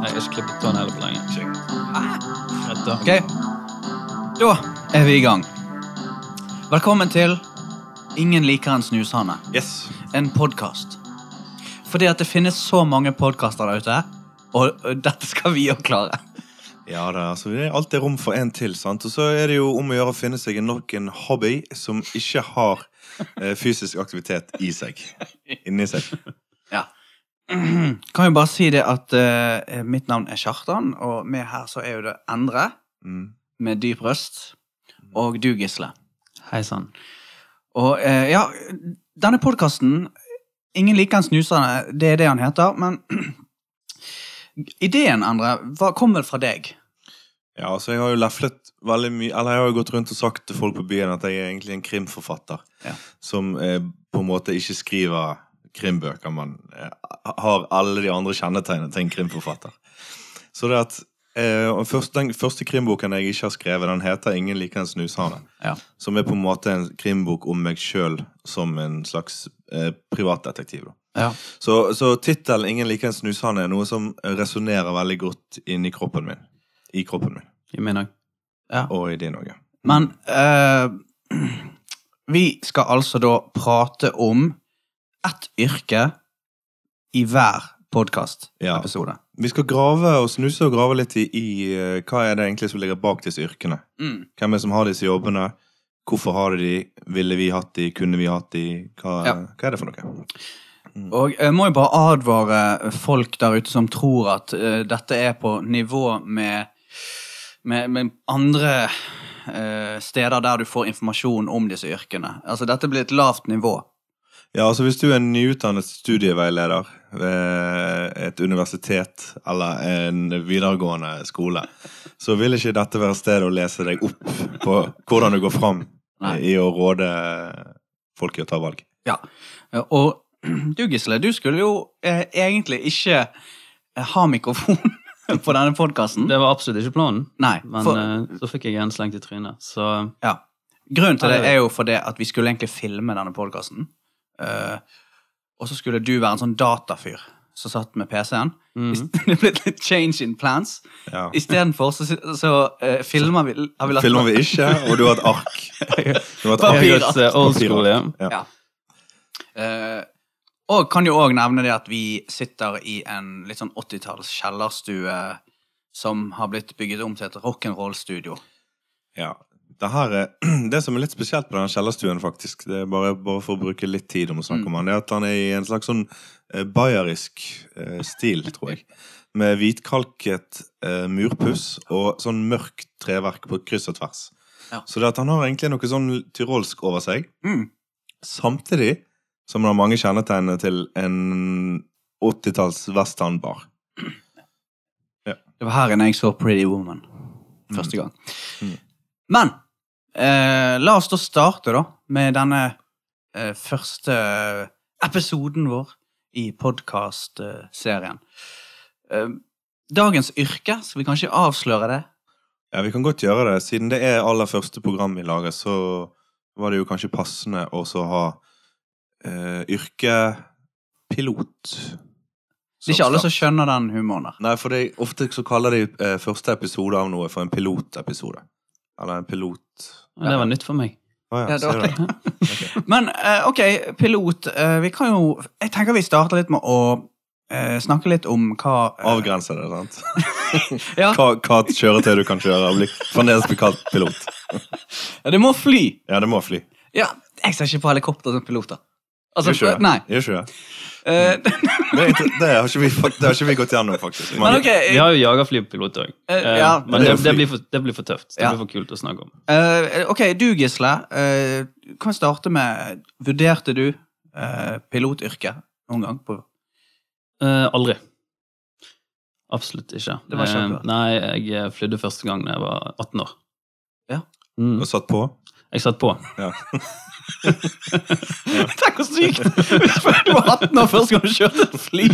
Ta en helopplenge. Retter. Ok. Da er vi i gang. Velkommen til Ingen liker en snushane. Yes. En podkast. Fordi at det finnes så mange podkaster der ute, og og dette skal vi jo klare. Ja da, altså det er alltid rom for en til, sant. Og så er det jo om å gjøre å finne seg nok en hobby som ikke har eh, fysisk aktivitet i seg. Inni seg. Kan jo bare si det at eh, mitt navn er Kjartan, og med her så er jo det Endre Mm. med dyp røst, og du, Gisle. Hei sann. Og eh, ja, denne podkasten Ingen liker en snusende, det er det han heter, men ideen, Endre, hva kom vel fra deg? Ja, altså jeg har jo leflet veldig mye Eller jeg har jo gått rundt og sagt til folk på byen at jeg er egentlig en krimforfatter. Ja. Som eh, på en måte ikke skriver krimbøker, men eh, har alle de andre kjennetegnene til en krimforfatter. Så det at eh, og først, Den første krimboken jeg ikke har skrevet, den heter 'Ingen liker en snushane'. Ja. Som er på en måte en krimbok om meg sjøl som en slags eh, privatdetektiv. da. Ja. Så, så tittelen 'Ingen liker en snushane' er noe som resonnerer veldig godt inni kroppen min. I kroppen min. I min òg. Og i din òg. Men eh, vi skal altså da prate om ett yrke i hver Ja. podkast-episode. Vi skal grave og snuse og grave litt i, i eh, hva er det egentlig som ligger bak disse yrkene. Mm. Hvem er det som har disse jobbene? Hvorfor har de de? Ville vi hatt de? Kunne vi hatt de? Hva, Ja. hva er det for noe? Mm. Og jeg må jo bare advare folk der ute som tror at eh, dette er på nivå med, med, med andre eh, steder der du får informasjon om disse yrkene. Altså dette blir et lavt nivå. Ja, altså Hvis du er en nyutdannet studieveileder ved et universitet eller en videregående skole, så vil ikke dette være stedet å lese deg opp på hvordan du går fram Nei. i å råde folk i å ta valg. Ja. Eh, Og du Gisle, du skulle jo eh, egentlig ikke eh, ha mikrofon på denne podkasten. Det var absolutt ikke planen, Mm. Nei. men For, eh, så fikk jeg en slengt i trynet. Så ja. Grunnen til Ja, det det- er jo fordi at vi skulle egentlig filme denne podkasten. og så skulle du være en sånn datafyr som satt med PC-en. mm. Det ble litt change in plans. Ja. Istedenfor så, sit- så eh, filmer vi har vi lagt- Filmer vi ikke, og du har et ark. Du har et ark. Papir. Jeg har gått eh, old school, ja. Ja. Eh, og kan jo òg nevne det at vi sitter i en litt sånn 80-talls kjellerstue som har blitt bygget om til et rock'n'roll-studio. Ja. Det, her er, det som er litt spesielt på denne kjellerstuen, faktisk, det er bare, bare for å bruke litt tid om å snakke om han, det er at han er i en slags sånn eh, bayerisk eh, stil, tror jeg. Med hvitkalket eh, murpuss og sånn mørkt treverk på kryss og tvers. Ja. Så det at han har egentlig noe sånn tyrolsk over seg, Mm. samtidig som han har mange kjennetegn til en 80-talls westernbar. Det var her inne jeg så Pretty Woman første gang. Mm. Men eh, la oss da starte da med denne eh, første episoden vår i podkast-serien. Eh, dagens yrke, skal vi kanskje avsløre det? Ja, vi kan godt gjøre det. Siden det er aller første program vi lager, så var det jo kanskje passende også å ha eh, yrke pilot. Det er ikke alle som skjønner den humoren der. Nei, for det, ofte så kaller de eh, første episode av noe for en pilotepisode. Eller en pilot Og Det var nytt for meg. Å ja, Ja, det ser var- du det? Men eh, ok, pilot. eh, vi kan jo Jeg tenker vi starter litt med å eh, snakke litt om hva eh, Avgrense det, sant? Ja. Hva, hva kjøretøy du kan kjøre og bli fremdeles bli kalt pilot. Ja, det må fly. Ja, det må fly. Ja, jeg ser ikke på helikopter som piloter. Altså, Gjør ikke det? nei. Gjør ikke det? eh, Det, er ikke- det, har ikke vi, fakt- det har ikke vi gått gjennom, faktisk. men ok, Vi har jo jagerflypilot òg, Eh, ja. Det er men det, jo fly. det, blir for, det blir for tøft. Det Ja. blir for kult å snakke om. eh, ok, du Gisle, eh, kan vi starte med Vurderte du eh, pilotyrket noen gang? På, Eh, aldri. Absolutt ikke. Det var kjempeaktuelt. Eh, nei, jeg eh, flydde første gang da jeg var 18 år. Ja. Mm. Og satt på. Jeg satt på. Tenk hvor sykt! Du var 18 år først gang du kjørte et fly.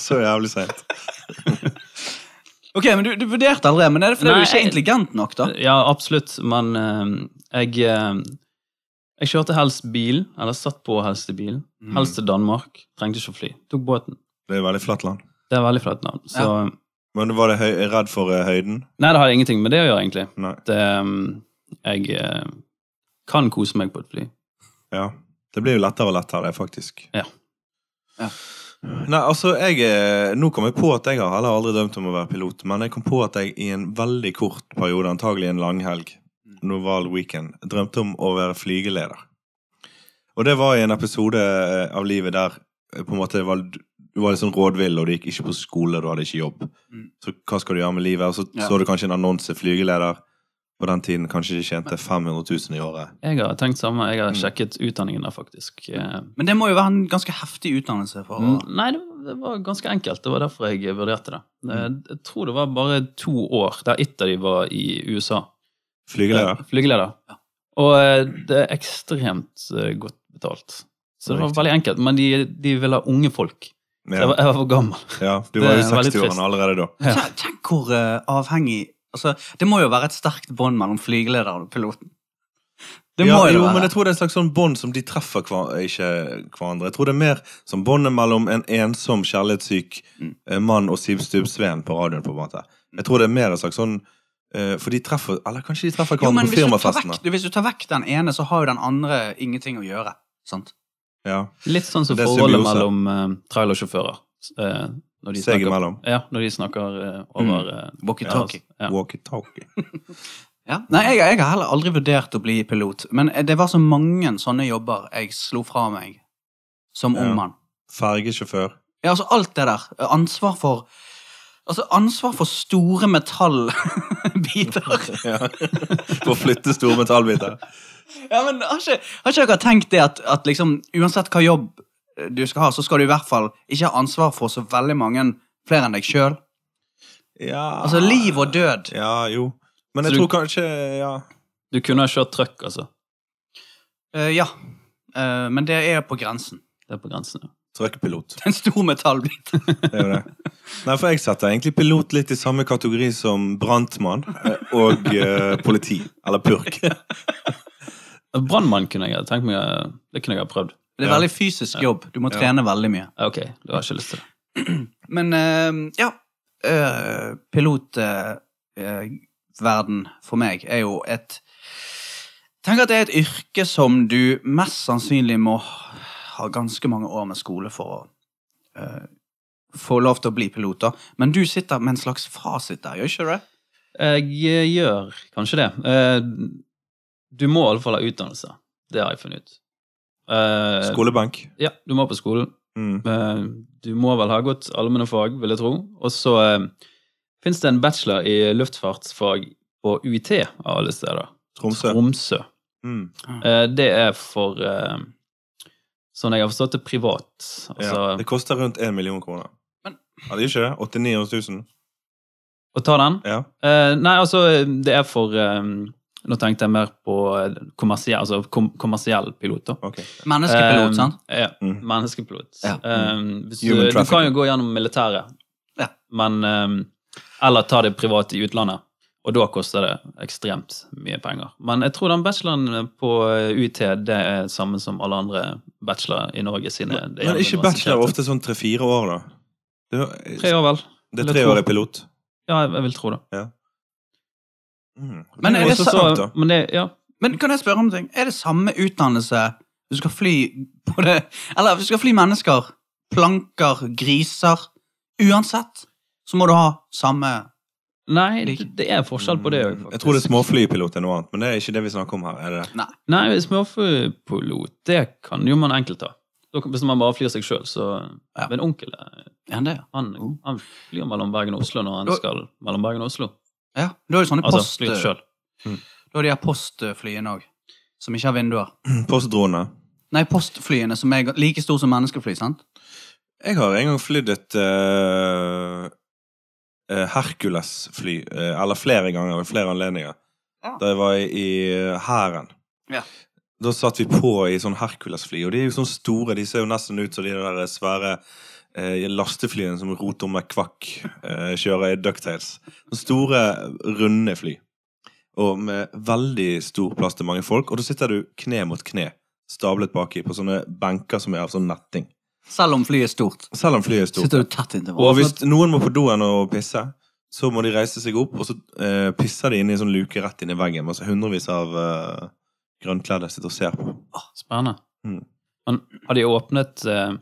Så jævlig seint. Ok, men Du, du vurderte aldri, men er det fordi Nei, du ikke er jeg- Eh, intelligent nok? da? Ja, absolutt, men eh, jeg eh, Jeg kjørte helst bil, eller satt på helst i bilen. Mm. Helst til Danmark. Trengte ikke å fly. Tok båten. Det er veldig flatt land. Det er veldig flaut navn. Så Men var det høy, redd for eh, høyden? Nei, det har ingenting med det å gjøre, egentlig. Nei. At, ehm, jeg eh, kan kose meg på et fly. Ja. Det blir jo lettere og lettere, det, faktisk. Ja. Ja. Nei, altså, jeg eh, Nå kom jeg på at jeg har heller aldri drømt om å være pilot, men jeg kom på at jeg i en veldig kort periode, antagelig en langhelg, Noval Weekend, drømte om å være flygeleder. Og det var i en episode eh, av livet der eh, på en måte det var, du var litt sånn rådvill, og du gikk ikke på skole, du hadde ikke jobb. Mm. Så hva skal du gjøre med livet? Og så Ja. så du kanskje en annonse, flygeleder. På den tiden kanskje de tjente 500 000 i året. Jeg har tenkt samme. Jeg har Mm. sjekket utdanningen der, faktisk. Eh, Men det må jo være en ganske heftig utdannelse. for å... n- Nei, det, det var ganske enkelt. Det var derfor jeg vurderte det. Eh, Mm. Jeg tror det var bare to år der ett av de var i USA. Flygeleder? Eh, Flygeleder. Ja. Og eh, det er ekstremt eh, godt betalt. Så det var Riktig. veldig enkelt. Men de, de vil ha unge folk. Så Ja. jeg var, jeg var for gammel. ja, du Det var jo var litt 60-årene trist. allerede da. Ja. Tenk, tenk hvor eh, avhengig altså, Det må jo være et sterkt bånd mellom flygelederen og piloten. Det ja, må jo, jo, men være. jeg tror det er et slags sånn bånd som de treffer hver, ikke hverandre. Jeg tror det er mer som båndet mellom en ensom, kjærlighetssyk Mm. eh, mann og Siv Stubbsveen på radioen, på en måte. Jeg tror det er mer et slags sånn eh, For de treffer Eller kanskje de treffer jo, hverandre men på hvis du, tar firmafestene. vekk, hvis du tar vekk den ene, så har jo den andre ingenting å gjøre. Sant? Ja, Litt sånn som Det er forholdet symbiose. mellom eh, trailersjåfører. eh, når de Seg snakker- imellom. Ja, når de snakker eh, over eh, Walkietalkie. Ja, altså, Walkie-talkie. altså. Ja. Nei, jeg, jeg har heller aldri vurdert å bli pilot, men det var så mange sånne jobber jeg slo fra meg som Ja. ung mann. Fergesjåfør. Ja, altså alt det der. Ansvar for Altså ansvar for store metallbiter. Ja. For å flytte store metallbiter. Ja, men har ikke, har ikke dere tenkt det at, at liksom, uansett hva jobb eh, du skal ha, så skal du i hvert fall ikke ha ansvar for så veldig mange flere enn deg sjøl. Ja Altså liv og død. Ja, jo. Men Så jeg du- tror kanskje Ja. ja. Du kunne ha kjørt truck, altså. Eh, ja. Eh, men det er på grensen. Det er på grensen. ja. Trøkkepilot. En stor metallbit. Det er jo det. Nei, for jeg setter egentlig pilot litt i samme kategori som brantmann eh, og eh, politi. Eller purk. Altså, Brannmann kunne jeg ha tenkt meg eh, Det kunne jeg ha prøvd. Det er Ja. veldig fysisk jobb. Du må Ja. trene veldig mye. Ja, Ok, du har ikke lyst til det. Men eh, ja. eh, Pilotverden for meg er jo et Tenk at det er et yrke som du mest sannsynlig må ha ganske mange år med skole for å eh, få lov til å bli pilot, da. Men du sitter med en slags fasit der, gjør ikke du det? Jeg eh, gjør kanskje det. Eh, Du må iallfall ha utdannelse. Det har jeg funnet ut. Eh, Skolebenk. Ja, du må på skolen. Mm. Eh, Du må vel ha gått allmenne fag, vil jeg tro. Og så fins det en bachelor i luftfartsfag på UiT av alle steder. Tromsø. Tromsø. Mm. Eh, Det er for eh, Sånn jeg har forstått det, privat. Altså, Ja. Det koster rundt én million kroner. Men- Ja, det gjør ikke det? 89 000? Å ta den? Ja. Eh, nei, altså, det er for eh, Nå tenkte jeg mer på eh, kommersiell, altså, kom, kommersiell pilot, da. Ok. Menneskepilot, sant? Eh, ja, Mm. menneskepilot. Ja. Eh, hvis Human du, du trafficking. kan jo gå gjennom militæret, Ja. men eh, Eller ta det privat i utlandet. Og da koster det ekstremt mye penger. Men jeg tror den bacheloren på eh, UiT det er samme som alle andre bachelorer i Norge sine. det Men gjennom ikke bachelor universitetet. ofte sånn tre-fire år, da? Det Tre er, år, vel. det er tre år i pilot. Ja, jeg, jeg vil tro det. Mm. Men er jo det Også interessant, da. så, men det, ja, Men kan jeg spørre om en ting? Er det samme utdannelse du skal fly på det Eller hvis du skal fly mennesker, planker, griser Uansett så må du ha samme Nei, Like. det, det er forskjell på det òg, Mm. faktisk. Jeg tror det er småflypilot er noe annet, men det er ikke det vi snakker om her. er det? Nei, småflypilot, det kan jo man enkelt ta. Da kan- Hvis man bare flyr seg sjøl, så Ja. Min onkel eh, Ja, det. han, Oh. han flyr mellom Bergen og Oslo når han Da- skal mellom Bergen og Oslo. Ja, Du har jo sånne Altså post... flyr Du sjøl. har de her postflyene òg, som ikke har vinduer. Postdrone. Nei, postflyene som er like store som menneskefly, sant? Jeg har en gang flydd et eh, eh, Hercules-fly. eh, eller flere ganger ved flere anledninger. Ja. Da jeg var i- i eh, Hæren. Ja. Da satt vi på i sånn Hercules-fly, og de er jo sånn store. De ser jo nesten ut som de der svære eh, lasteflyene som roter med kvakk eh, kjører i Ducktails. Sånne Store, runde fly. Og med veldig stor plass til mange folk. Og da sitter du kne mot kne, stablet baki, på sånne benker som er av sånn netting. Selv om flyet er stort. Selv om flyet er stort. Sitter du tett inntil hverandre. Og hvis noen må på doen og pisse, Så må de reise seg opp, og så eh, pisser de inn i en sånn luke rett inn i veggen. Mens hundrevis av eh, grønnkledde sitter og ser på. Ah, Spennende. Mm. Men har de åpnet eh,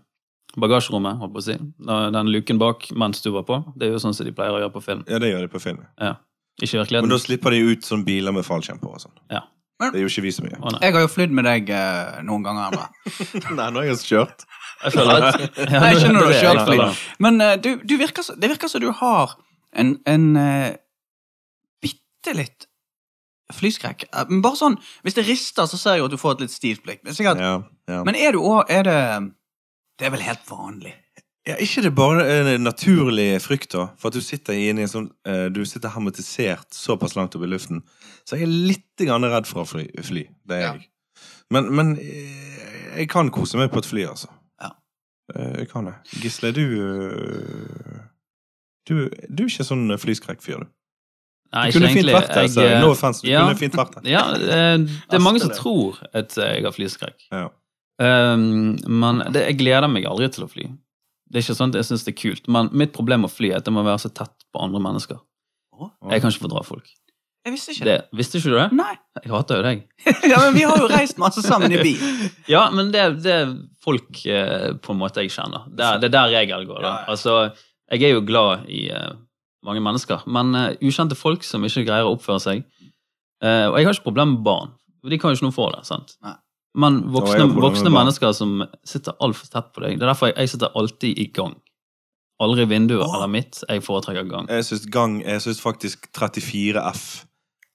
bagasjerommet, holdt på å si, da- den luken bak mens du var på? Det er jo sånn som de pleier å gjøre på film. Ja, det gjør de på film. Ikke i Men virkeligheten. da slipper de ut sånn biler med fallskjerm på og sånn. Ja. Det er jo ikke vi så mye. Å, nei. Jeg har jo flydd med deg eh, noen ganger. Endre. Nei, nå har jeg kjørt. Jeg føler at ja, Nei, det- ikke når du det er har jeg kjørt føler. Men eh, du, du virker, så- det virker som du har en, en eh, bitte litt flyskrekk. Eh, Men bare sånn, Hvis det rister, så ser jeg jo at du får et litt stivt blikk. Men, sikkert, Ja, ja. men er du òg Er det Det er vel helt vanlig? Ja, ikke det bare en naturlig frykt, da. For at du sitter inne i en sånn eh, Du sitter hermetisert såpass langt opp i luften. Så jeg er litt grann redd for å fly. fly. Det er Ja. jeg. Men, men eh, jeg kan kose meg på et fly, altså. Ja. Eh, Jeg kan det. Gisle, du eh, Du, du er ikke sånn flyskrekkfyr, du. Du Nei, ikke kunne fint egentlig. vært det. Altså. Jeg, eh, No offense, du ja. kunne fint vært det. Ja, eh, det er mange som Astrid. tror at eh, jeg har flyskrekk. Ja. Um, men det, jeg gleder meg aldri til å fly. Det er ikke sånn at jeg syns det er kult, men mitt problem med å fly er at det må være så tett på andre mennesker. Å? Jeg kan ikke fordra folk. Jeg visste ikke det. Det, visste ikke du det? Nei. Jeg hater jo deg. ja, men vi har jo reist masse sammen i bil. Ja, men det, det er folk eh, på en måte jeg kjenner. Det er, det er der regelen går. Da. Ja, ja. Altså, jeg er jo glad i eh, mange mennesker, men eh, ukjente folk som ikke greier å oppføre seg eh, Og jeg har ikke problem med barn, for de kan jo ikke noe for det. sant? Nei. Men Og jeg har voksne, problemer med voksne barn. mennesker som sitter altfor tett på deg Det er derfor jeg, jeg sitter alltid i gang. Aldri vinduer Åh. eller mitt. Jeg foretrekker gang. Jeg syns gang Jeg syns faktisk 34F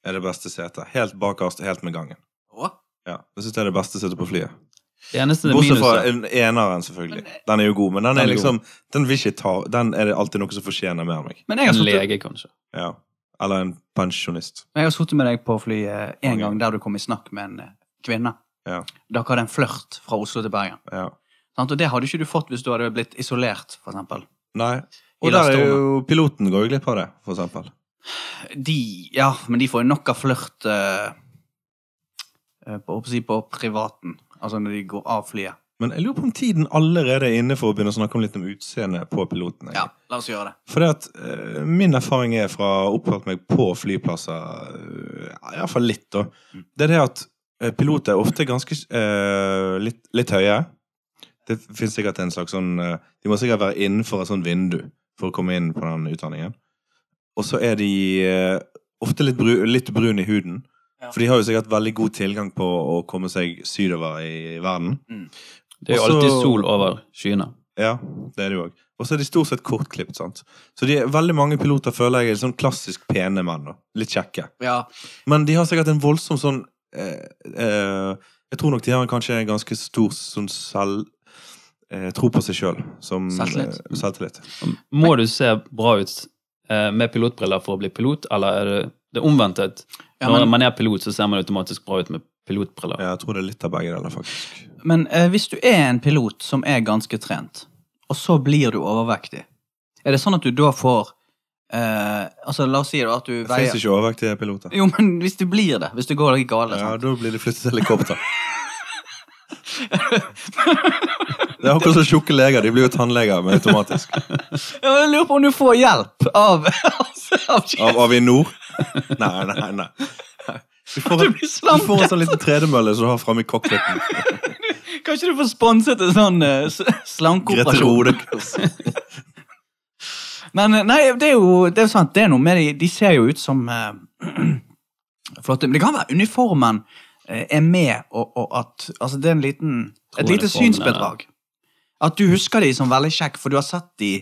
er det beste setet. Helt bakerst, helt med gangen. Å? Ja, Jeg syns det er det beste setet på flyet. Det eneste Bortsett fra minuset en- eneren, selvfølgelig. Men- Den er jo god, men den Den er er liksom Den vil ikke ta Den er det alltid noe som fortjener mer enn meg. Men jeg har En sittet- lege, kanskje. Ja. Eller en pensjonist. Jeg har sittet med deg på flyet en gang der du kom i snakk med en eh, kvinne. Ja. Dere hadde en flørt fra Oslo til Bergen. Ja. Sant? Og det hadde ikke du fått hvis du hadde blitt isolert, for eksempel. Nei. I Og der er lasterommet. jo piloten går jo glipp av det, for eksempel. De, ja, men de får jo nok av flørt eh, eh, på, å si på privaten. Altså når de går av flyet. Men jeg lurer på om tiden allerede er inne for å begynne å snakke om litt om utseendet på piloten. Ja, la oss gjøre det. Fordi at eh, min erfaring er fra å ha oppholdt meg på flyplasser, uh, iallfall litt, da. Det er det at eh, piloter er ofte ganske eh, litt, litt høye. Det finnes sikkert en slags sånn eh, De må sikkert være innenfor et sånt vindu for å komme inn på den utdanningen. Og så er de eh, ofte litt, bru, litt brun i huden. Ja. For de har jo sikkert veldig god tilgang på å komme seg sydover i verden. Det er jo Også- alltid sol over skyene. Ja, det er det jo òg. Og så er de stort sett kortklipt. sant? Så de, veldig mange piloter føler jeg er sånn klassisk pene menn. da. Litt kjekke. Ja, Men de har sikkert en voldsom sånn eh, eh, Jeg tror nok de har kanskje en ganske stor sånn selv... Eh, tro på seg sjøl. Selvtillit. Mm. Eh, selvtillit. Må du se bra ut eh, med pilotbriller for å bli pilot, eller er det det omvendte? ja Når men, man er pilot, så ser man automatisk bra ut med pilotbriller. Ja, jeg tror det er litt av begge deler, faktisk. men eh, hvis du er en pilot som er ganske trent, og så blir du overvektig, er det sånn at du da får eh, Altså, la oss si da at du Det veier fins ikke overvektige piloter. Jo, men hvis du blir det, hvis du går liksom. deg gale Ja, sant? Da blir de flyttet til helikopter. Det er akkurat som tjukke leger. De blir jo tannleger med automatisk. Ja, men Jeg lurer på om du får hjelp av, av Av Avinor? Nei, nei, nei. Du får, Du en, blir du får en slanket! sånn liten tredemølle som du har framme i cockpiten. Kanskje du får sponset en sånn eh, s- Grete slankeoperasjon? Rode-kurs. Men eh, nei, det er jo det er jo sant, det er noe med de De ser jo ut som eh, flotte Men det kan være uniformen eh, er med, og, og at Altså, det er en liten Tror Et lite uniformen er der. synsbedrag. At du husker de som veldig kjekk, for du har sett de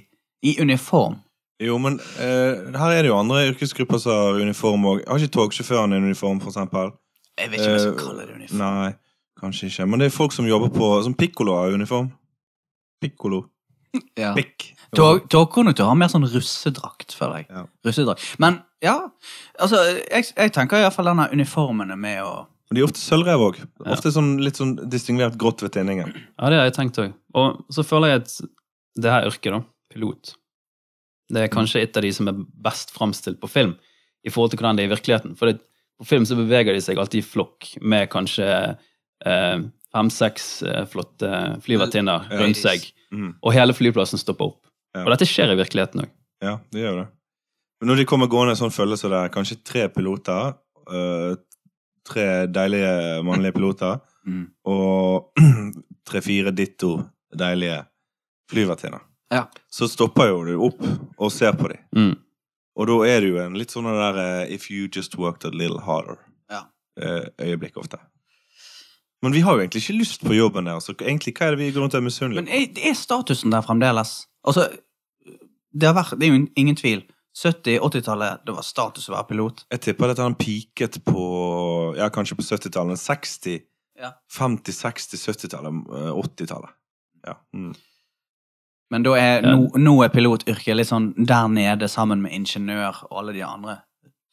i uniform. Jo, men eh, her er det jo andre yrkesgrupper som har uniform òg. Har ikke togsjåføren en uniform, for eksempel? Jeg vet ikke om jeg skal Eh, kalle det uniform. Nei, kanskje ikke. Men det er folk som jobber på Som pikkolo har uniform. Pikkolo. Ja. Pikk. Tog- Togkondukter har mer sånn russedrakt, føler jeg. Ja. Russedrakt. Men ja, altså, jeg, jeg tenker iallfall denne uniformen er med å Og de er ofte sølvrev òg. Ofte sånn, litt sånn distingvert grått ved tinningen. Ja, det har jeg tenkt òg. Og så føler jeg at det her yrket, da, pilot, det Mm. er kanskje et av de som er best framstilt på film i forhold til hvordan det er i virkeligheten. For det, på film så beveger de seg alltid i flokk med kanskje eh, fem-seks eh, flotte flyvertinner Ja. rundt seg, Mm. og hele flyplassen stopper opp. Ja. Og dette skjer i virkeligheten òg. Ja, det gjør det. Men når de kommer gående sånn følge som det er, kanskje tre piloter, eh, tre deilige mannlige piloter, Mm. og tre-fire ditto deilige flyvertinner, Ja. så stopper jo du opp og ser på dem. Mm. Og da er det jo en litt sånn den der eh, If you just worked a little harder. Ja. eh, Øyeblikk ofte. Men vi har jo egentlig ikke lyst på jobben der, så egentlig hva er det vi går rundt og er misunnelige Men er, er statusen der fremdeles? Altså, det, har vært, det er jo ingen tvil. 70-, 80-tallet, det var status å være pilot. Jeg tipper dette han piket på Ja, kanskje på 70-tallet. 60. Ja. 50-, 60-, 70-tallet. eh, 80-tallet. Ja. Mm. Men da er, Ja. nå, nå er pilotyrket litt sånn der nede sammen med ingeniør og alle de andre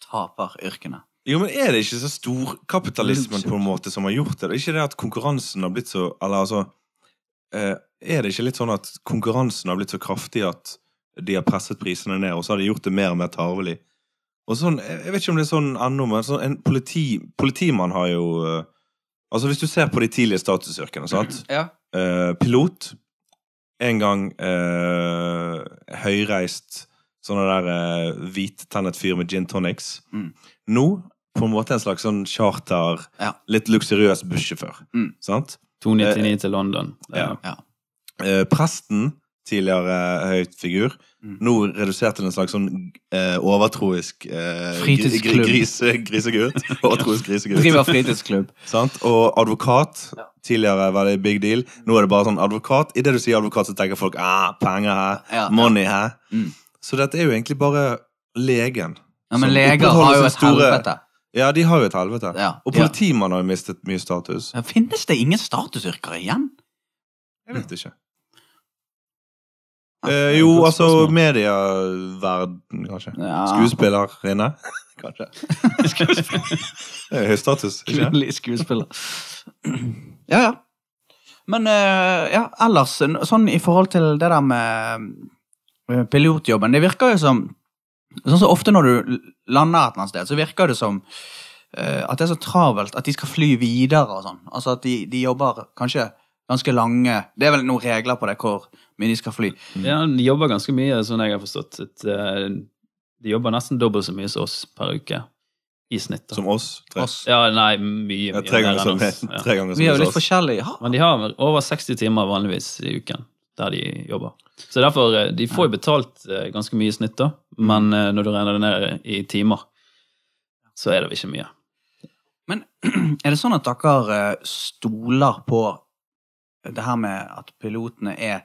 taperyrkene. Jo, men er det ikke så storkapitalismen på en måte som har gjort det? Det er ikke det at konkurransen har blitt så Eller altså eh, Er det ikke litt sånn at konkurransen har blitt så kraftig at de har presset prisene ned, og så har de gjort det mer og mer tarvelig? Og sånn, Jeg jeg vet ikke om det er sånn ennå, men sånn, en politi, politimann har jo eh, Altså, hvis du ser på de tidlige statusyrkene, sant? Ja. Eh, pilot. En gang eh, høyreist sånn der eh, hvittennet fyr med gin tonics. Mm. Nå på en måte en slags sånn charter, Ja. litt luksuriøs bussjåfør. Mm. Sant? 299 til London. Det er- Eh, Ja. Eh, presten, tidligere eh, høyt figur, Mm. nå redusert til en slags sånn eh, overtroisk eh, gri- Fritidsklubb. gri- grise, grisegutt. Overtroisk grisegutt. Driver fritidsklubb. Sant? Og advokat. Ja. Tidligere var det big deal. Nå er det bare sånn advokat. Idet du sier advokat, så tenker folk ah, penger her, Ja. money her. Mm. Så dette er jo egentlig bare legen. Ja, men Som leger opprettholder har jo sin et store- helvete. Ja, de har jo et helvete. Ja. Og Ja. politimannen har jo mistet mye status. Ja, Finnes det ingen statusyrker igjen? Jeg vet ikke. Ja, Eh, er et jo, godt altså spørsmål. medieverden, kanskje. Ja. Skuespillerinne, kanskje. Det er høy status. ikke? Kvinnelig skuespiller. Ja, ja. Men eh, ja, ellers, n- sånn i forhold til det der med eh, pilotjobben Det virker jo som Sånn som ofte når du l- lander et eller annet sted, så virker det som eh, at det er så travelt at de skal fly videre og sånn. Altså at de, de jobber kanskje ganske lange Det er vel noen regler på det hvor mye de skal fly. Ja, de jobber ganske mye, sånn jeg har forstått. At, eh, de jobber nesten dobbelt så mye som oss per uke. I snitt. da. Som oss. Tre, Oss. Ja, nei, mye, ja, mye tre ganger mer som enn oss. Ja. tre ganger Vi er som jo litt oss. forskjellige. Ja. Men de har over 60 timer vanligvis i uken der de jobber. Så derfor, eh, de får jo betalt eh, ganske mye i snitt, da. Mm. Men eh, når du regner det ned i timer, så er det vel ikke mye. Men er det sånn at dere eh, stoler på det her med at pilotene er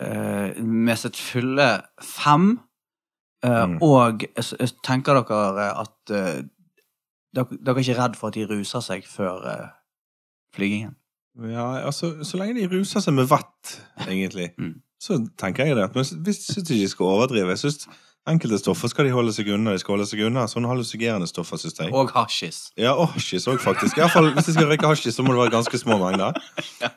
eh, med sitt fulle fem, eh, Mm. og s- s- tenker dere eh, at eh, dere, dere er ikke redd for at de ruser seg før eh, flygingen? Ja, altså, så lenge de ruser seg med vett, egentlig, Mm. så tenker jeg det. Men jeg syns de skal overdrive. Jeg synes enkelte stoffer skal de holde seg unna. De skal holde seg unna sånne hallusigerende stoffer, syns jeg. Og hasjis. Ja, hasjis òg, faktisk. I hvert fall, hvis de skal røyke hasjis, så må det være ganske små mengder.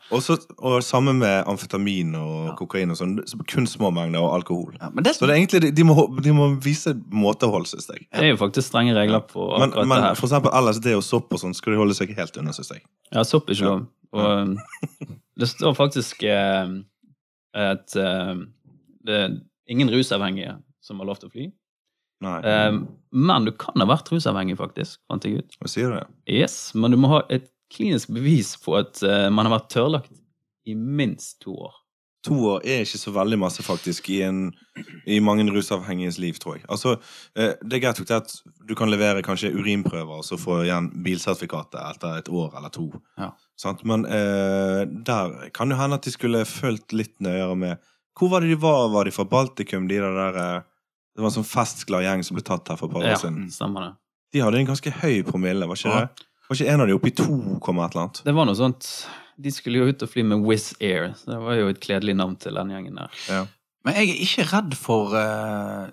Og så- og samme med amfetamin og kokain og sånn. så Kun små mengder, og alkohol. Ja, men det, Så det er egentlig, de, de, må, ho- de må vise måtehold, syns jeg. Det er jo faktisk strenge regler på Men, akkurat det men her. for eksempel LSD og sopp og sånn skal de holde seg helt unna, syns jeg. Ja, sopp er ikke Ja. lov. Og eh, det står faktisk eh, at eh, det er ingen rusavhengige som har lov til å fly. Nei. Eh, men du kan ha vært rusavhengig, faktisk, fant jeg ut. Hva sier du det? Yes, men du må ha et klinisk bevis på at eh, man har vært tørrlagt i minst to år. to år er ikke så veldig masse, faktisk, i, en, i mange rusavhengiges liv, tror jeg. Altså, eh, det er greit nok det at du kan levere kanskje urinprøver, og så få igjen bilsertifikatet etter et år eller to. Ja. Sant? Men eh, der kan det hende at de skulle fulgt litt nøyere med Hvor var det de var? Var de fra Baltikum, de der, der eh, Det var en sånn festglad gjeng som ble tatt her for et par år Ja, siden. stemmer det. De hadde en ganske høy promille, var ikke Ja. det? Var ikke en av de oppe i to, komma et eller annet? Det var noe sånt. De skulle jo ut og fly med Wizz Air, så det var jo et kledelig navn til den gjengen der. Men jeg er ikke redd for eh,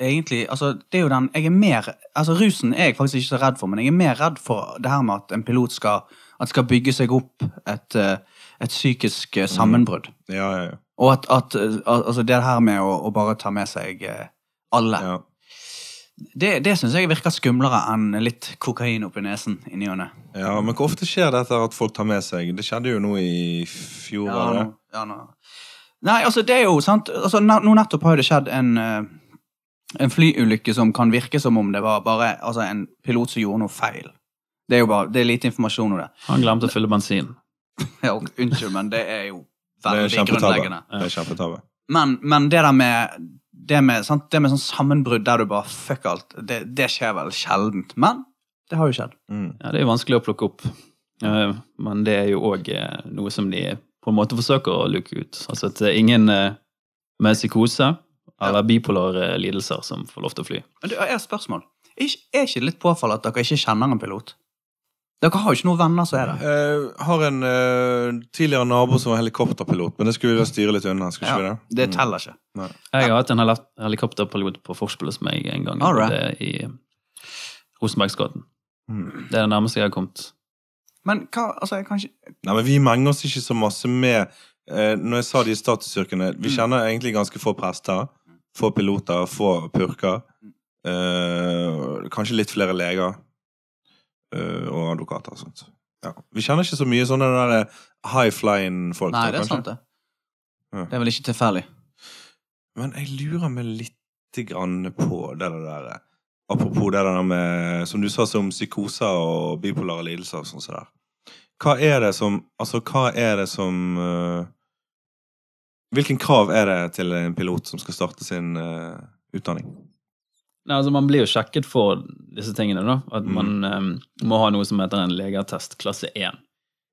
Egentlig, altså det er jo den Jeg er mer, altså rusen er jeg faktisk ikke så redd for Men jeg er mer redd for det her med at en pilot skal At det skal bygge seg opp Et, eh, et psykisk eh, sammenbrudd Ja, ja, ja. Og at, at eh, al- altså det her med å, å bare ta med seg eh, Alle ja. Det, det synes jeg virker skumlere enn litt kokain opp i nesen I ny og ne. Ja, men hvor ofte skjer dette at folk tar med seg? Det skjedde jo nå i fjor. Ja, var det? nå- ja, nå. Nei, altså det er jo sant altså, ne- Nå nettopp har jo det skjedd en eh, en flyulykke som kan virke som om det var bare altså, en pilot som gjorde noe feil. Det er jo bare, det er lite informasjon om det. Han glemte å fylle bensin. Ja, og Unnskyld, men det er jo Det veldig er kjempetabbe. grunnleggende. Det er kjempetabbe. Men, men det der med det med, sant? det med sånn sammenbrudd der du bare fuck alt, det, det skjer vel sjeldent. Men det har jo skjedd. Mm. Ja, det er jo vanskelig å plukke opp. Eh, Men det er jo òg noe som de på en måte forsøker å luke ut. Altså at det er ingen eh, med psykose eller bipolare lidelser som får lov til å fly. Men du, jeg har et spørsmål. Er ikke- er ikke det litt påfallende at dere ikke kjenner en pilot? Dere har jo ikke noen venner som er det. Eh, har en eh, tidligere nabo som var helikopterpilot, men det skulle vi da styre litt unna. skulle ikke vi Ja, det? det teller ikke. Jeg har hatt en heli- helikopterpilot på forspillet som jeg en gang All right. hadde i Rosenbergsgaten. Mm. Det er det nærmeste jeg har kommet. Men hva, altså, jeg kan ikke Nei, men vi menger oss ikke så masse med eh, Når jeg sa de statusyrkene Vi Mm. kjenner egentlig ganske få prester, få piloter, få purker. eh, kanskje litt flere leger eh, og advokater og sånt. Ja. Vi kjenner ikke så mye sånne der high-flying folk. Nei, da, det er kanskje. sant, det. Ja. Det er vel ikke tilfeldig. Men jeg lurer meg litt grann på det der eh, Apropos det der med Som du sa, som psykoser og bipolare lidelser og sånn så der. Hva er det som Altså, hva er det som eh, Hvilken krav er det til en pilot som skal starte sin eh, utdanning? Nei, altså Man blir jo sjekket for disse tingene. da, At Mm. man eh, må ha noe som heter en legeattest klasse 1.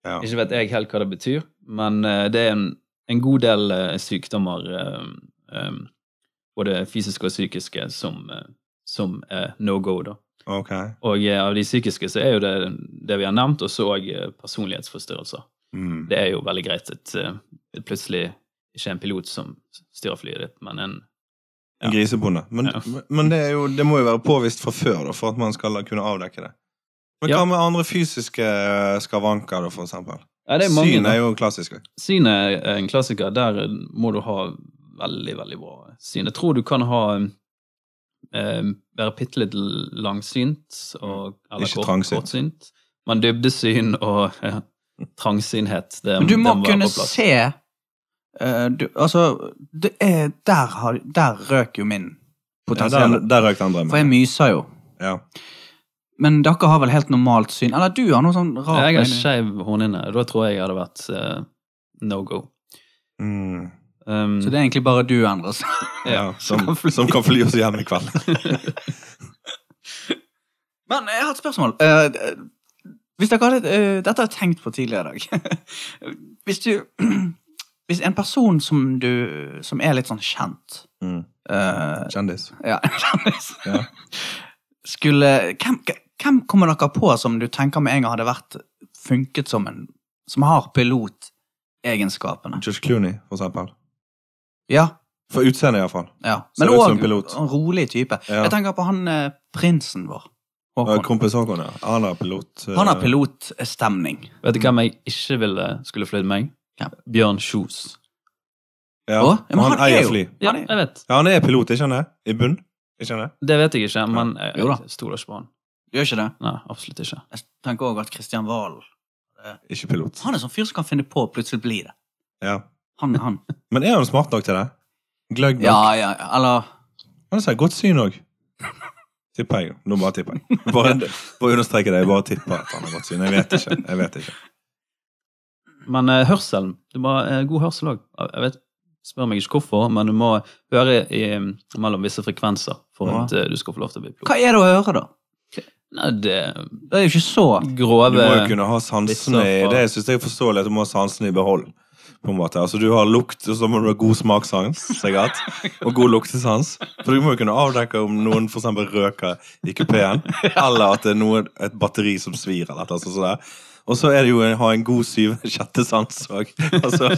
Ja. Ikke vet jeg helt hva det betyr, men eh, det er en, en god del eh, sykdommer, eh, eh, både fysiske og psykiske, som, eh, som er no go. da. Ok. Og eh, av de psykiske så er jo det det vi har nevnt, og så òg personlighetsforstyrrelser. Mm. Det er jo veldig greit at eh, det plutselig ikke er en pilot som styrer flyet ditt, men en En grisebonde. Men, Ja. men det, er jo, det må jo være påvist fra før, da, for at man skal kunne avdekke det. Men Ja. hva med andre fysiske eh, skavanker, da, for eksempel? ja, det er mange, Syn da. er jo klassisk. Syn er en klassiker. Der må du ha veldig, veldig bra syn. Jeg tror du kan ha eh, være bitte litt langsynt og, Mm. eller Ikke kort, trangsynt. kortsynt. Men dybdesyn og ja, trangsynhet, det, Men du må det være kunne på plass. se eh, du, Altså, det er, der, har, der røk jo min Ja, potensial. der der røk den For jeg drømmen. myser jo. Ja. Men dere har vel helt normalt syn? Eller du har noe sånn rart Jeg har øyne. skeiv hornhinne. Da tror jeg jeg hadde vært eh, no go. Mm. Um, Så det er egentlig bare du, Endres. Ja, som, kan fly. som kan fly oss hjem i kveld. Men jeg har et spørsmål. Eh, eh, hvis dere hadde, eh, dette har jeg tenkt på tidligere i dag. hvis du Hvis en person som du Som er litt sånn kjent eh, Mm. Kjendis. Ja, en kjendis. Ja. Skulle hvem, hvem kommer dere på som du tenker med en gang hadde vært funket som en Som har pilotegenskapene? Josh Clooney, for eksempel. Ja. For utseendet, iallfall. Ja, Ser men ut som en òg pilot. en rolig type. Ja. Jeg tenker på han eh, prinsen vår. Håkon. Kompis Håkon, ja. Han er pilot. eh, Han har pilotstemning. Vet du hvem jeg ikke ville skulle flydd meg? Ja. Bjørn Kjos. Ja. Å, ja, men han, eier jo- fly. Ja, han er- jeg vet. Ja, han er pilot, ikke han det? I bunn? Ikke han det? Det vet jeg ikke, men jeg, Jo da. jeg stoler ikke på han. Gjør ikke det? Nei, absolutt ikke. Jeg tenker òg at Kristian Valen Ikke pilot. Han er sånn fyr som kan finne på å plutselig bli det. Ja. Han, han. Men er han smart nok til det? Gløgg nok? Ja, ja, eller Han har godt syn òg. Tipper jeg. Nå bare tipper jeg. Bare, bare understreke det. Jeg bare tipper at han har godt syn. Jeg vet ikke. Jeg vet ikke. Men eh, hørselen Du må ha eh, god hørsel òg. Jeg vet, spør meg ikke hvorfor, men du må høre i, eh, mellom visse frekvenser for Ja. at eh, du skal få lov til å bli pilot. Hva er det å høre, da? Nei, det Det er jo ikke så grove Du må jo kunne ha Litt sansene i sånn fra- Det synes jeg er forståelig at du må ha sansene i behold. På en måte. Altså, du har lukt, og så må du ha god smakssans, sikkert. Og god luktesans. For du må jo kunne avdekke om noen for eksempel røker i kupeen, eller at det er noe, et batteri som svir, eller noe sånt. der. Og så er det jo å ha en god syvende-sjette sans òg. Altså,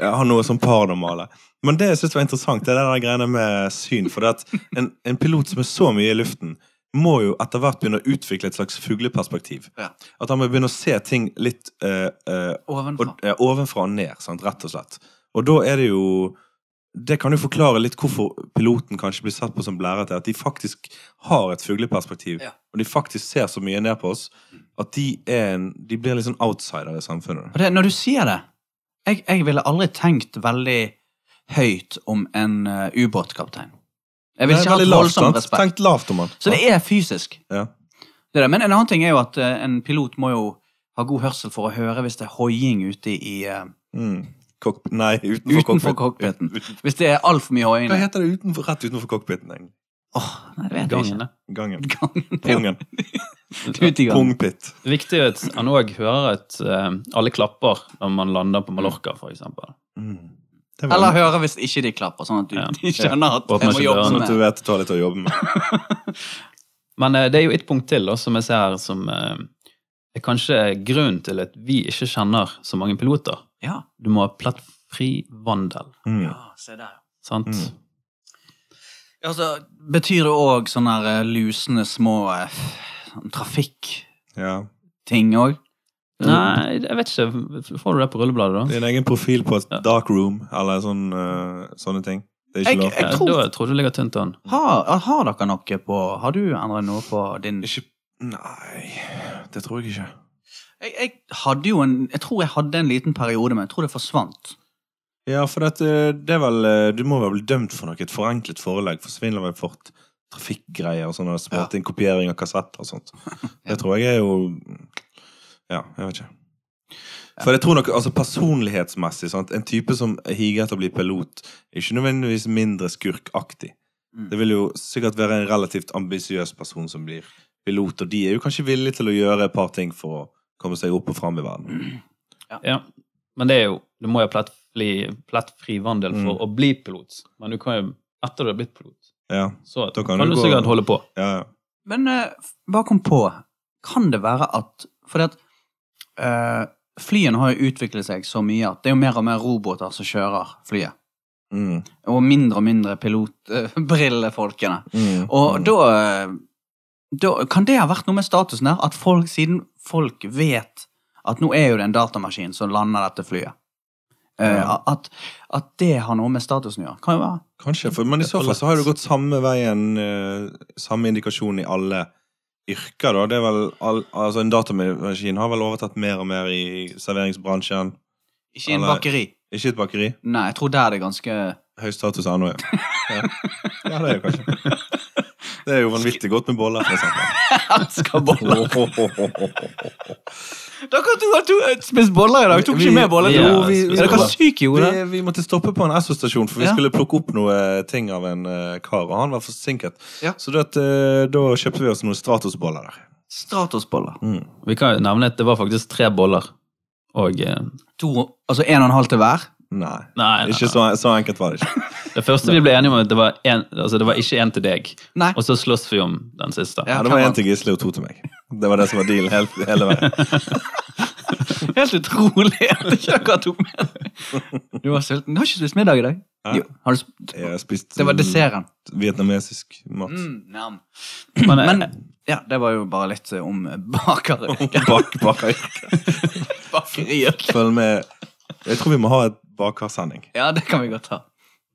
ha noe som paranormale. Men det jeg syns var interessant, det er det der greiene med syn. For det at en, en pilot som er så mye i luften, må jo etter hvert begynne å utvikle et slags fugleperspektiv. Ja. At han må begynne å se ting litt eh, eh, ovenfra. og, eh, ovenfra og ned, sant? rett og slett. Og da er det jo Det kan jo forklare litt hvorfor piloten kanskje blir sett på som blærete. At de faktisk har et fugleperspektiv, Ja. og de faktisk ser så mye ned på oss at de, er en, de blir litt sånn outsider i samfunnet. Og det, når du sier det jeg, jeg ville aldri tenkt veldig høyt om en eh, ubåtkaptein. Jeg vil Det er ikke ha veldig et lavt, voldsomt sant? respekt. Tenkt lavt om han. Så det er fysisk. Ja. Det er det. Men en annen ting er jo at eh, en pilot må jo ha god hørsel for å høre hvis det er hoiing ute i eh, Mm. Cockp- Nei, utenfor, Utenfor cockpit. cockpiten. Hvis det er altfor mye hoiing. Hva Åh, heter det utenfor, rett utenfor cockpiten? egentlig? nei, det vet jeg ikke. Gangen, det. Gangen. Gangen. Det er Pungen. jo ut i gangen. Pungpit. Viktig at han òg hører at eh, alle klapper når man lander på Mallorca, f.eks. Mm. Det var- Eller høre hvis ikke de klapper, sånn at du Ja. de skjønner at Åpner jeg må ikke jobbe dørene. Sånn at du med vet at du har litt å jobbe med. Men eh, det er jo et punkt til da, som jeg ser her, som eh, er kanskje grunnen til at vi ikke kjenner så mange piloter. Ja. Du må ha plettfri vandel, Mm. Ja, se der. sant? Mm. Ja, Altså, betyr det òg sånne her, eh, lusende små eh, sånn trafikkting Ja. òg? Nei, jeg vet ikke. Får du det på rullebladet, da? Din egen profil på et Ja. dark room eller sånn, eh, sånne ting. Det er Jeg- ikke lov. jeg- Ja, tror- Da tror jeg det ligger tynt an. Har, har dere noe på Har du endret noe på din jeg, Ikke Nei, det tror jeg ikke. jeg hadde jo en Jeg tror jeg hadde en liten periode, men jeg tror det forsvant. Ja, for dette, det er vel eh, Du må vel bli dømt for noe. Et forenklet forelegg for svindelveifort, trafikkgreier og sånne småting. Kopiering av kassetter og sånt. Det tror jeg er jo mm, Ja, jeg vet ikke. For jeg tror nok, altså Personlighetsmessig, sant? en type som higer etter å bli pilot, er ikke nødvendigvis mindre skurkaktig. Mm. Det vil jo sikkert være en relativt ambisiøs person som blir pilot, og de er jo kanskje villige til å gjøre et par ting for å komme seg opp og fram i verden. Mm. Ja. Men det er jo, du må jo ha plettfri, plettfri vandel for Mm. å bli pilot. Men du kan jo, etter du har blitt pilot, Ja, så Da kan, kan du du gå- sikkert holde på. ja, ja. Men eh, bare kom på Kan det være at Fordi at eh, flyene har jo utviklet seg så mye at det er jo mer og mer roboter som kjører flyet. Mm. Og mindre og mindre eh, pilotbrillefolkene. Mm. Og Mm. da, eh, da Kan det ha vært noe med statusen her? At folk, siden folk vet at nå er jo det en datamaskin som lander dette flyet. eh, Ja. At, at det har noe med statusen å gjøre. Kan jo være. Kanskje, for, men i så fall så har det gått samme veien, eh, samme indikasjon i alle yrker, da. Det er vel, all, altså En datamaskin har vel overtatt mer og mer i serveringsbransjen. Ikke i en Eller- bakeri. Ikke et bakeri. Nei, jeg tror der det er ganske Høy status ennå, ja. ja. Ja, det er jo kanskje Det er jo vanvittig godt med boller, for eksempel. Elsker boller! Ohohohoho. Dere to har to- spist boller i dag. Tok ikke Vi- med boller. vi- til- ja, Jo, vi- spist Er dere boller. syke i hodet? Vi, vi måtte stoppe på en Esso-stasjon, for vi Ja. skulle plukke opp noe ting av en eh, kar, og han var forsinket. Ja. Så det at, eh, da kjøpte vi oss noen Stratos-boller der. Stratos-boller. Mm. Vi kan jo nevne at det var faktisk tre boller. Og eh, To, altså en og en halv til hver? Nei. Nei, nei, Ikke så, nei. så enkelt var det ikke. det første vi ble enige om, at det var, en, altså, det var ikke én til deg. Nei. Og så slåss vi om den siste. Ja, Ja, det var kan én til Gisle og to til meg. Det var det som var dealen hele, hele veien. Helt utrolig at ikke dere tok med det. Du var sulten. Du har ikke spist middag i dag? Hæ? Jo, har du sp- Jeg har spist mm, det var desserten. vietnamesisk mat. Mm, nam. Men, eh, Men ja, det var jo bare litt eh, om bakere. Bak, bak. Bakeriet. Følg med. Jeg tror vi må ha et bakersending. Ja, det kan vi godt ta.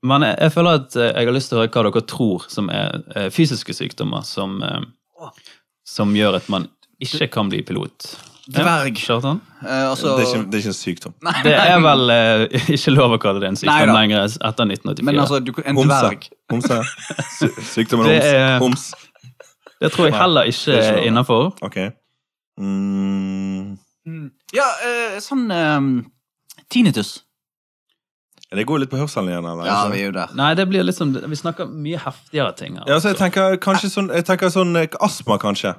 men jeg, jeg føler at eh, jeg har lyst til å høre hva dere tror som er eh, fysiske sykdommer som, eh, som gjør at man ikke kan bli pilot. Dverg. Ja, Kjartan? Eh, altså det, er ikke, det er ikke en sykdom. Nei, Det er men- vel eh, ikke lov å kalle det en Nei sykdom da. lenger etter 1984. Men altså, du, en Homse. dverg Homse. Sy sykdommen Det er- homs. Homs. det tror jeg Nei, heller ikke det er ikke lov. er innafor. Ok. Mm. Mm. Ja, eh, sånn eh, Tinnitus. Det går litt på hørselen igjen, eller? Altså- Ja, altså. vi er jo der. Nei, det blir liksom Vi snakker mye heftigere ting her. altså. Ja, så jeg tenker kanskje sånn, jeg tenker sånn eh, astma, kanskje.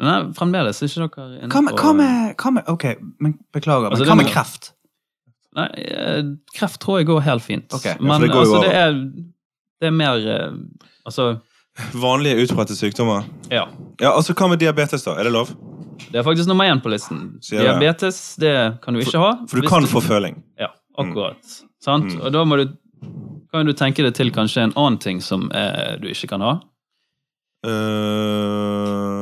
Nei, fremdeles er ikke dere inne Hva med, på- hva med, hva med Ok, men beklager. Men Altså, hva det- med kreft? Nei, eh, kreft tror jeg går helt fint. Ok. Ja, for Men det går jo altså, over. det er Det er mer eh, Altså, Vanlige utbredte sykdommer. ja. Ja, altså Hva med diabetes, da? Er det lov? Det er faktisk nummer én på listen. Sier jeg. Diabetes, det kan du ikke ha. For du Hvis kan få Mm. føling. Ja, akkurat. Sant? Og da må du kan du tenke deg til kanskje en annen ting som eh, du ikke kan ha. eh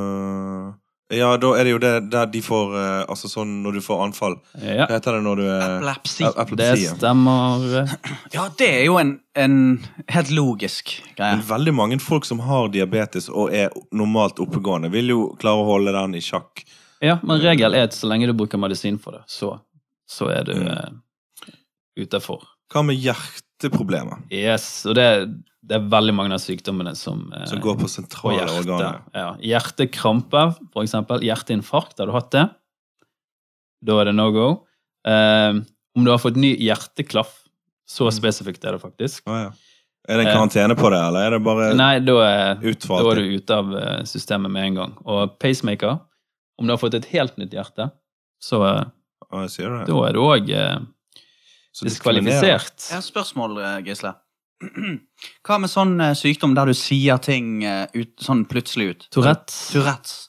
ja, da er det jo det der de får eh, Altså sånn når du får anfall. Ja, Hva heter det når du er Epilepsi. Ep- det Epilepsi. ja. stemmer. Ja, det er jo en, en helt logisk Men greie. veldig mange folk som har diabetes og er normalt oppegående, vil jo klare å holde den i sjakk. Ja, men regel er at så lenge du Mm. bruker medisin for det, så, så er du eh, utenfor. Hva med hjert, hjerteproblemer Yes, og det, det er veldig mange av sykdommene som, eh, som går på på sentrale organer. hjertet. Ja. Hjertekramper, for eksempel. Hjerteinfarkt, har du hatt det? Da er det no go. Eh, om du har fått ny hjerteklaff, så Mm. spesifikt er det faktisk. Å, ja. Er det en karantene på det, eller er det bare Eh. Nei, da er, da utvalgt? er du ute av eh, systemet med en gang. Og pacemaker, om du har fått et helt nytt hjerte, så eh, Å, jeg sier det. da er du òg Så diskriminerer. diskvalifisert. Jeg har et spørsmål, eh, Gisle. Hva med sånn eh, sykdom der du sier ting eh, ut, sånn plutselig ut? Tourettes. Tourettes.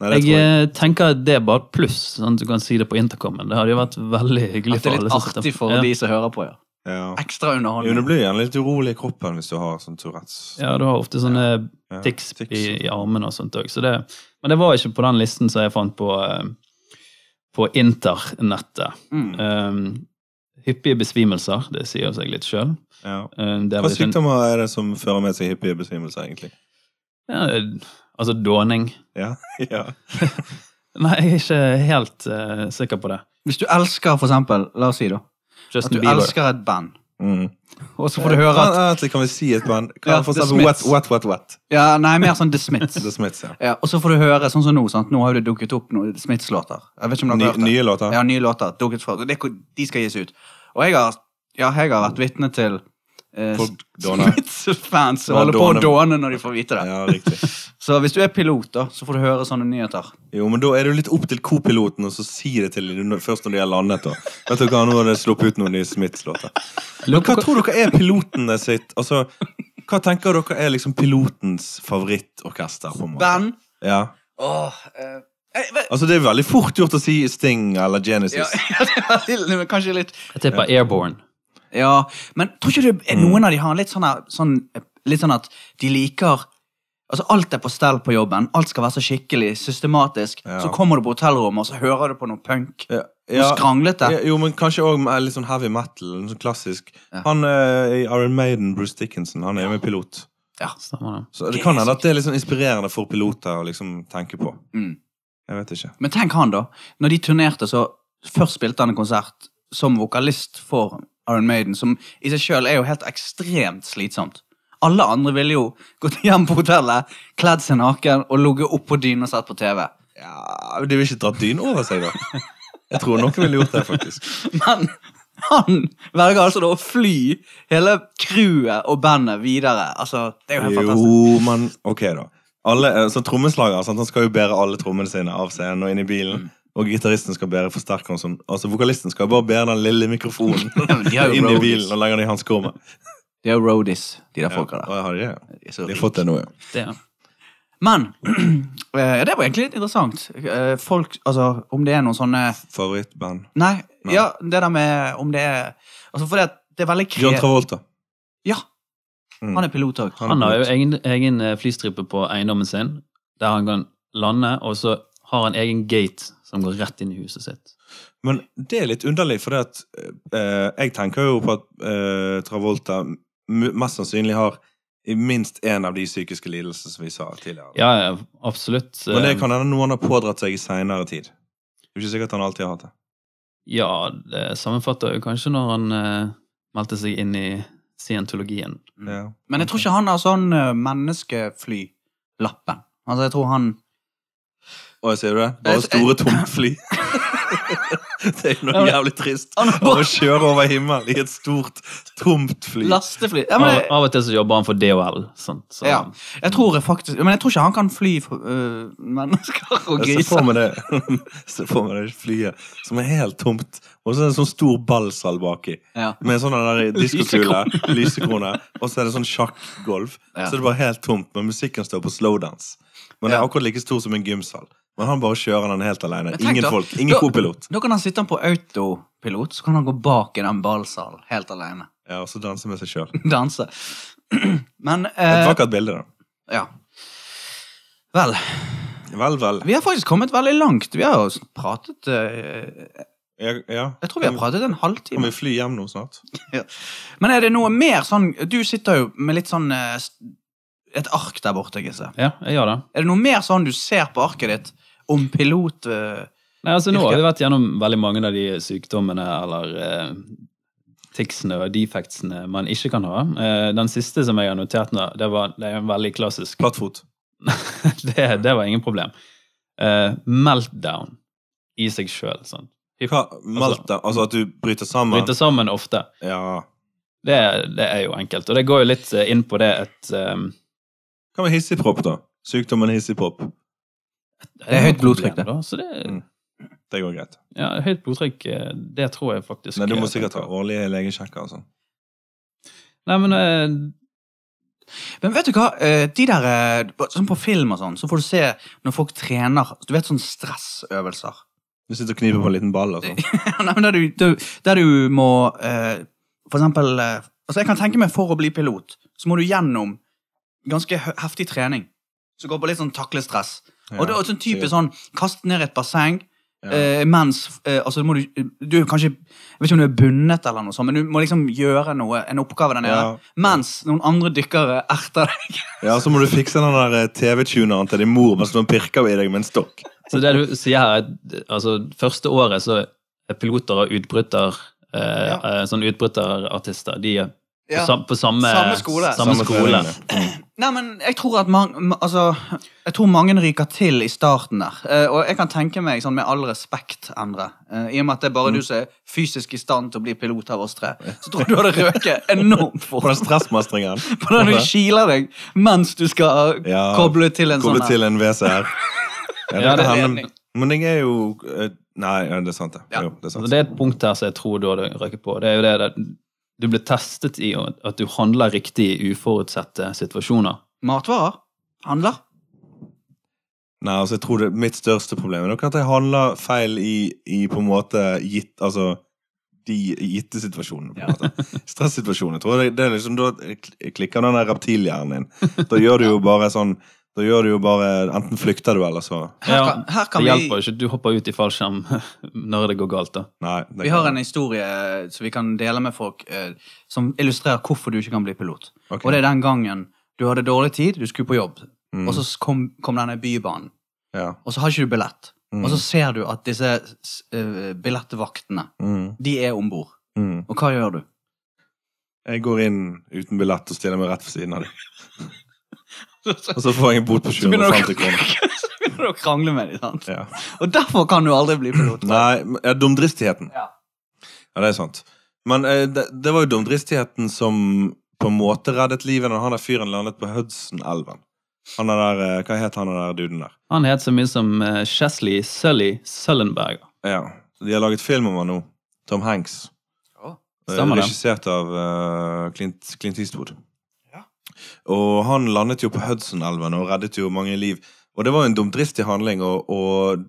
Nei, det Jeg, tror jeg. eh, tenker at det er bare et pluss, sånn at du kan si det på intercomen. Det hadde jo vært veldig hyggelig At det er alle litt som sitter- artig for ja. de som hører på, altså. ja. eh, Ja. Ekstra Jo, du underholdning. blir gjerne litt urolig i kroppen hvis du har sånn Tourettes. Ja, du har ofte sånne Ja, tics tics. i, i armene og sånt òg. Så det- men det var ikke på den listen som jeg fant på, eh, på internettet. Mm. Um, hyppige besvimelser, det sier seg litt sjøl. Ja. Um, det er Hva vel ikke en- sykdommer er det som fører med seg hyppige besvimelser, egentlig? ja, altså dåning. Ja, ja. Nei, jeg er ikke helt eh, sikker på det. Hvis du elsker, for eksempel, la oss si da, at Justin du Bieber. elsker et band, Mm. og så får du høre at Kan, kan vi si et band? Kan Ja, for The eksempel wet, Smiths. wet, wet, wet. Ja, nei, mer sånn The Smiths. The Smiths, ja. Ja, og så får du høre, sånn som nå, sant? nå har jo det dukket opp noen Smiths-låter. Jeg vet ikke om dere Ny, har hørt det. nye låter. Ja, nye låter. Dukket fra. Det, de skal gis ut. Og jeg har, ja, jeg har vært vitne til eh, Folk dåner. Smiths-fans som Ja, holder på å dåner. dåne når de får vite det. Ja, riktig. Så hvis du er pilot, da, så får du høre sånne nyheter. Jo, men da er du litt opp til co-piloten, og så si det til dem når- først når de har landet. da. Vet dere hva, nå har det sluppet ut noen nye Smiths-låter. Men hva tror dere er pilotene sitt Altså, hva tenker dere er liksom pilotens favorittorkester? på en måte? Band. Ja. Åh, eh, jeg vet- Altså, det er veldig fort gjort å si Sting eller Genesis. ja, det var kanskje litt Jeg tipper Airborne. Ja, men tror ikke du er Mm. noen av de har litt sånn, her, sånn Litt sånn at de liker Altså Alt er på stell på jobben, alt skal være så skikkelig systematisk. Ja. Så kommer du på hotellrommet, og så hører du på noe punk. Ja, Noe skranglete. Ja, Jo, men kanskje òg litt sånn heavy metal. Litt sånn klassisk. Ja. Han eh, i Iron Maiden, Bruce Dickinson, han er jo med pilot. Stemmer det. Så det kan hende at det er litt sånn inspirerende for piloter å liksom tenke på. Mm. Jeg vet ikke. Men tenk han, da. Når de turnerte, så først spilte han en konsert som vokalist for Iron Maiden, som i seg sjøl er jo helt ekstremt slitsomt. Alle andre ville jo gått hjem på hotellet, kledd seg naken og ligget oppå dynen og sett på TV. Ja, De vil ikke dra dynen over seg, da. Jeg tror noen ville gjort det, faktisk. Men han velger altså da å fly hele crewet og bandet videre. Altså, det er jo helt fantastisk. Jo, men ok, da. Alle, eh, så Trommeslager sant? han skal jo bære alle trommene sine av scenen og inn i Mm. bilen. Og gitaristen skal bære forsterkeren. som- Altså, vokalisten skal bare bære den lille mikrofonen De har jo inn i roadies. bilen og legge den i hanskerommet. De er jo roadies, de der folka der. Ja, har de det? De er så De har rike. fått det nå, ja. det er. Men eh, det var egentlig litt interessant. Eh, Folk, altså, om det er noen sånne Favorittband. Nei, Nei. ja, det der med om det er Altså, fordi at det er veldig kre... John Travolta. Ja, Mm. han er pilot òg. Han er Han har jo pilot. egen, egen eh, flystripe på eiendommen sin, der han kan lande, og så har han egen gate som går rett inn i huset sitt. Men det er litt underlig, for det at eh, jeg tenker jo på at eh, Travolta m- mest sannsynlig har i minst én av de psykiske lidelsene som vi sa tidligere. Ja, ja, absolutt. eh, Men det kan hende noen har pådratt seg i seinere tid. Det er ikke sikkert han alltid har hatt det. eh, Ja, det sammenfatter jo kanskje når han eh, meldte seg inn i scientologien. Mm. Ja. Men jeg tror ikke han har sånn eh, menneskeflylappen. Altså, jeg tror han Og ser du det? Bare Jeg- store, tomt fly. det er jo noe jævlig trist. Bare kjøre over himmelen i et stort, tomt fly. Lastefly. Ja, men, Av, av og til så jobber han for DHL. Sant? Så, Ja. sånn. Jeg tror faktisk Men jeg tror ikke han kan fly for, øh, mennesker og Jeg ser griser. for meg det, ser for meg det flyet som er helt tomt, og så er det en sånn stor ballsal baki. Ja. Med sånn der diskokule, lysekrone, og så er det sånn sjakkgulv. Ja. Så det er bare helt tomt, men musikken står på slowdance. Men det er Ja. akkurat like stor som en gymsal. Men han bare kjører den helt alene. Men tenk Ingen da- folk, ingen da- kopilot. Da kan han sitte på autopilot, så kan han gå bak i den ballsalen helt alene. Ja, og så danser med seg sjøl. Danse. Men Et eh, vakkert bilde, da. Ja. Vel. Vel, vel. Vi har faktisk kommet veldig langt. Vi har jo pratet eh, Ja, ja. Jeg tror vi har pratet en Kan halvtime. vi fly hjem nå snart? Men er det noe mer sånn Du sitter jo med litt sånn eh, st- et ark der borte, Gisse. ja, jeg gjør det. Er det noe mer sånn du ser på arket ditt om pilot... eh, Nei, altså Nå Virker. har vi vært gjennom veldig mange av de sykdommene eller eh, ticsene og defectsene man ikke kan ha. Eh, Den siste som jeg har notert nå, det, var, det er en veldig klassisk Plattfot. det, det var ingen problem. Eh, meltdown i seg sjøl. Sånn. Hva, melter, altså at du bryter sammen? Bryter sammen ofte. Ja. Det, det er jo enkelt. Og det går jo litt eh, inn på det et ehm, Hva med hissigpropp, da? Sykdommen hissigpropp. Det er høyt blodtrykk, det. problem, da, Så det Mm. Det går greit. ja, høyt blodtrykk, eh, det tror jeg faktisk Nei, du eh, må sikkert ha årlige legesjekker og sånn. Nei, men eh, Men vet du hva, Eh, de der, eh, på- sånn på film og sånn, så får du se når folk trener, du vet sånne stressøvelser. Du sitter og kniper på en liten ball og sånn. Nei, men der du, der, der du må, eh, for eksempel, eh, altså jeg kan tenke meg for å bli pilot, så må du gjennom ganske hø- heftig trening, som går på litt sånn taklestress. Og det er også en type sånn, kast ned et basseng, Ja. eh, mens, eh, altså må du, du er kanskje, jeg vet ikke om du er bunnet eller noe sånt, men du må liksom gjøre noe, en oppgave der nede, Ja. mens noen andre dykkere erter deg. Ja, så må du fikse den der eh, TV-tuneren til din mor mens noen pirker i deg med en stokk. Så det du sier her, er at, altså første året så er piloter og utbryter eh, Ja. eh, Sånn utbryterartister. De er på, Ja. sam, på samme, Samme skole. Samme skole. Nei, men jeg tror at mange, ma- altså, jeg tror mange ryker til i starten der. Eh, og jeg kan tenke meg, sånn med all respekt, Endre, eh, i og med at det er bare Mm. du som er fysisk i stand til å bli pilot av oss tre, så tror jeg du hadde røket enormt På fort. den stressmestringen. På den du kiler deg mens du skal Ja, koble til en Koble sånn her. til en WC-R. Ja, det er ledning. Men jeg er jo eh, Nei, ja, det er sant, det. Ja. Jo, det er Så sant. det er et punkt her som jeg tror du hadde røket på. Det er jo det at du blir testet i at du handler riktig i uforutsette situasjoner. Matvarer? Handler? Nei, altså, jeg tror det Mitt største problem er nok at jeg handler feil i, i på en måte gitt Altså de gitte situasjonene. på en måte. Stressituasjoner. tror jeg det er liksom, Da klikker den der reptilhjernen din. Da gjør du jo bare sånn Da gjør du jo bare Enten flykter du, eller så Her Ja, kan, her Det kan vi... hjelper jo ikke. Du hopper ut i fallskjerm når det går galt. da. Nei. det Vi kan- har en historie eh, som vi kan dele med folk, eh, som illustrerer hvorfor du ikke kan bli pilot. Ok. Og det er den gangen du hadde dårlig tid, du skulle på jobb, Mm. og så s- kom, kom denne bybanen, ja. og så har ikke du billett. Mm. Og så ser du at disse s- eh, billettvaktene, Mm. de er om bord. Mm. Og hva gjør du? Jeg går inn uten billett og stiller meg rett ved siden av dem. Og så får jeg en bot på Så begynner 750 du, kroner. så begynner du å krangle med dem, sant? Ja. Og derfor kan du aldri bli pilot. Nei, men- ja, dumdristigheten. Ja. Ja, det er sant. Men eh, det, det var jo dumdristigheten som på en måte reddet livet når han der fyren landet på Hudson-elven. Han er der, eh, Hva het han der duden der? Han het så mye som eh, Chesley Sully Sullenberger. Ja, De har laget film om han nå. Tom Hanks. Å, Eh, stemmer det. Regissert av eh, Clint, Clint Eastwood. Ja. Og han landet jo på Hudson-elven og reddet jo mange liv. Og det var jo en dumdristig handling, og, og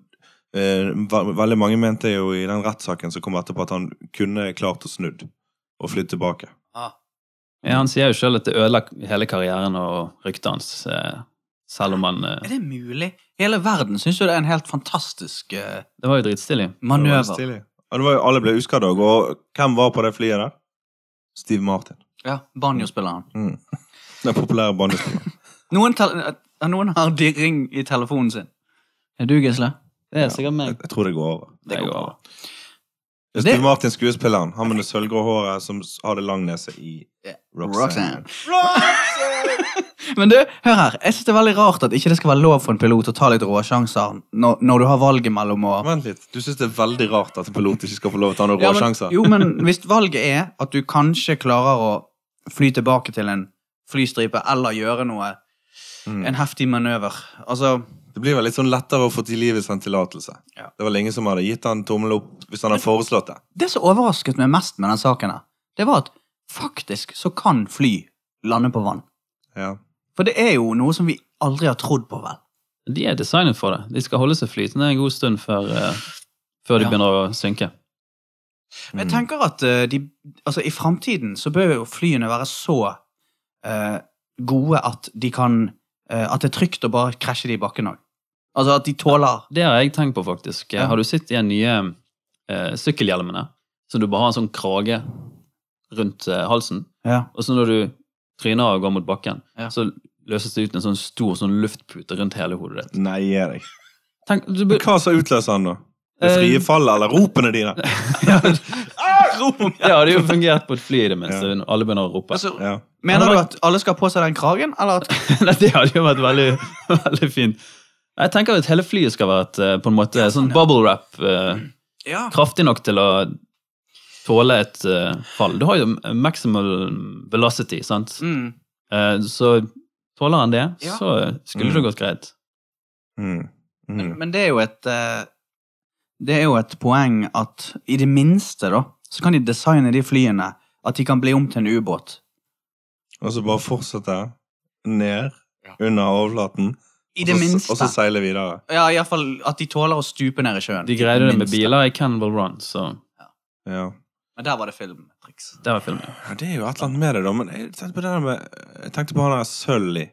eh, ve- veldig mange mente jo i den rettssaken som kom etterpå, at han kunne klart å snudd og flytte tilbake. Ah. Ja, han sier jo sjøl at det ødela hele karrieren og ryktet hans. eh, Selv om han eh, Er det mulig? Hele verden syns jo det er en helt fantastisk eh, Det var jo dritstilig. Det var manøver. veldig stilig. Ja, det var jo, alle ble uskadd òg. Og hvem var på det flyet der? Steve Martin. Ja, Banjospilleren. Mm. Den populære bandespilleren. Noen, tel- eh, noen har dirring i telefonen sin. Er du, Gisle? Det er sikkert Jeg, meg. jeg tror det går over. Det går bra. Det- Steve Martin, skuespilleren, han med det sølvgrå håret som s- hadde lang nese i Ja. Roxanne. Men du, hør her. Jeg synes det er veldig rart at ikke det skal være lov for en pilot å ta litt råsjanser når, når du har valget mellom å Vent litt, du syns det er veldig rart at en pilot ikke skal få lov til å ta noen Ja, men- råsjanser? Jo, men hvis valget er at du kanskje klarer å fly tilbake til en flystripe eller gjøre noe, Mm. en heftig manøver Altså Det blir vel litt sånn lettere å få til livet sin tillatelse. Ja. Det var lenge som hadde gitt han tommel opp hvis han hadde foreslått det. Det som overrasket meg mest med den saken her, det var at faktisk så kan fly lande på vann. Ja. For det er jo noe som vi aldri har trodd på, vel. De er designet for det. De skal holde seg flytende en god stund før, eh, før de Ja. begynner å synke. Men jeg Mm. tenker at eh, de, altså, i framtiden så bør jo flyene være så eh, gode at de kan eh, At det er trygt å bare krasje de i bakken òg. Altså at de tåler Det har jeg tenkt på, faktisk. Ja. Har du sett de nye eh, sykkelhjelmene? Så du bare har en sånn krage rundt eh, halsen, Ja. og så når du tryner og går mot bakken, Ja. så løses det ut en sånn stor sånn luftpute rundt hele hodet ditt. Nei, gi deg. Tenk, du, Eh, Men Hva sa utløseren, da? Det frie fallet eller ropene dine? Ja, rop om Det hadde jo fungert på et fly i det minste. når Alle begynner å rope. Altså, Ja. Mener du at alle skal ha på seg den kragen, eller at Nei, det hadde jo vært veldig, veldig fint. Jeg tenker at hele flyet skal være et, eh, på en måte sånn bubble wrap. eh, Ja. Kraftig nok til å tåle et eh, fall. Du har jo maximal velocity, sant? Mm. Eh, så tåler han det, Ja. så skulle det gått greit. Mm. Men, Mm. men det er jo et eh, Det er jo et poeng at i det minste, da, så kan de designe de flyene at de kan bli om til en ubåt. Og så bare fortsette ned Ja. under overflaten, I det og så- og så minste. seile videre. Ja, iallfall at de tåler å stupe ned i sjøen. De greide det med minste. biler i Cannibal Run, så Ja. Men der var det filmtriks. det var filmen. Ja, det er jo et eller annet med det, da. Men jeg tenkte på det der med Jeg tenkte på han der Sully.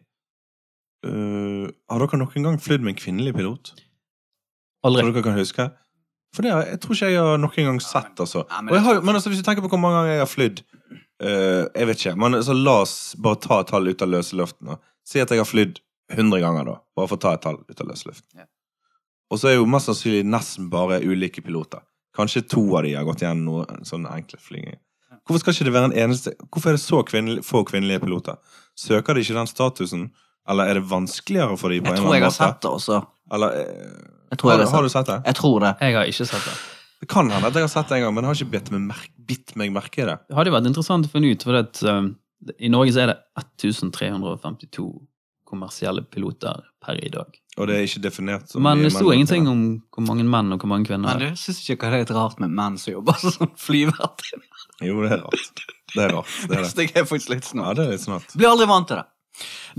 Uh, har dere noen gang flydd med en kvinnelig pilot? Aldri. Som dere kan huske? For det har, jeg tror ikke jeg har noen gang sett, altså. Ja, men- Og jeg har, jo- men altså, hvis du tenker på hvor mange ganger jeg har flydd uh, Jeg vet ikke. Men altså, la oss bare ta et tall ut av løse luften. da. Si at jeg har flydd 100 ganger, da. Bare for å ta et tall ut av løse luften. Ja. Og så er jo mest sannsynlig nesten bare ulike piloter. Kanskje to av de har gått gjennom noen sånne enkle flyginger. Hvorfor skal ikke det være en eneste Hvorfor er det så kvinnelig, få kvinnelige piloter? Søker de ikke den statusen? Eller er det vanskeligere for dem på Jeg en tror eller jeg annen har måte? sett det også. Eller, eh, Jeg tror har, jeg du- har har du sett det. sett det? Jeg tror det. Jeg har ikke sett det. Det kan hende at jeg har sett det en gang, men jeg har ikke bitt meg, merke, bitt meg merke i det. Det hadde jo vært interessant å finne ut, for at, um, i Norge så er det 1352 kommersielle piloter per i dag. Og det er ikke definert som Men de det sto mennene. ingenting om hvor mange menn og hvor mange kvinner. Men du syns ikke det er litt rart med menn som jobber som flyvert? Jo, det er rart. Det er rart. Det er det. Det er faktisk litt Ja, snart. det er litt snart. Blir aldri vant til det.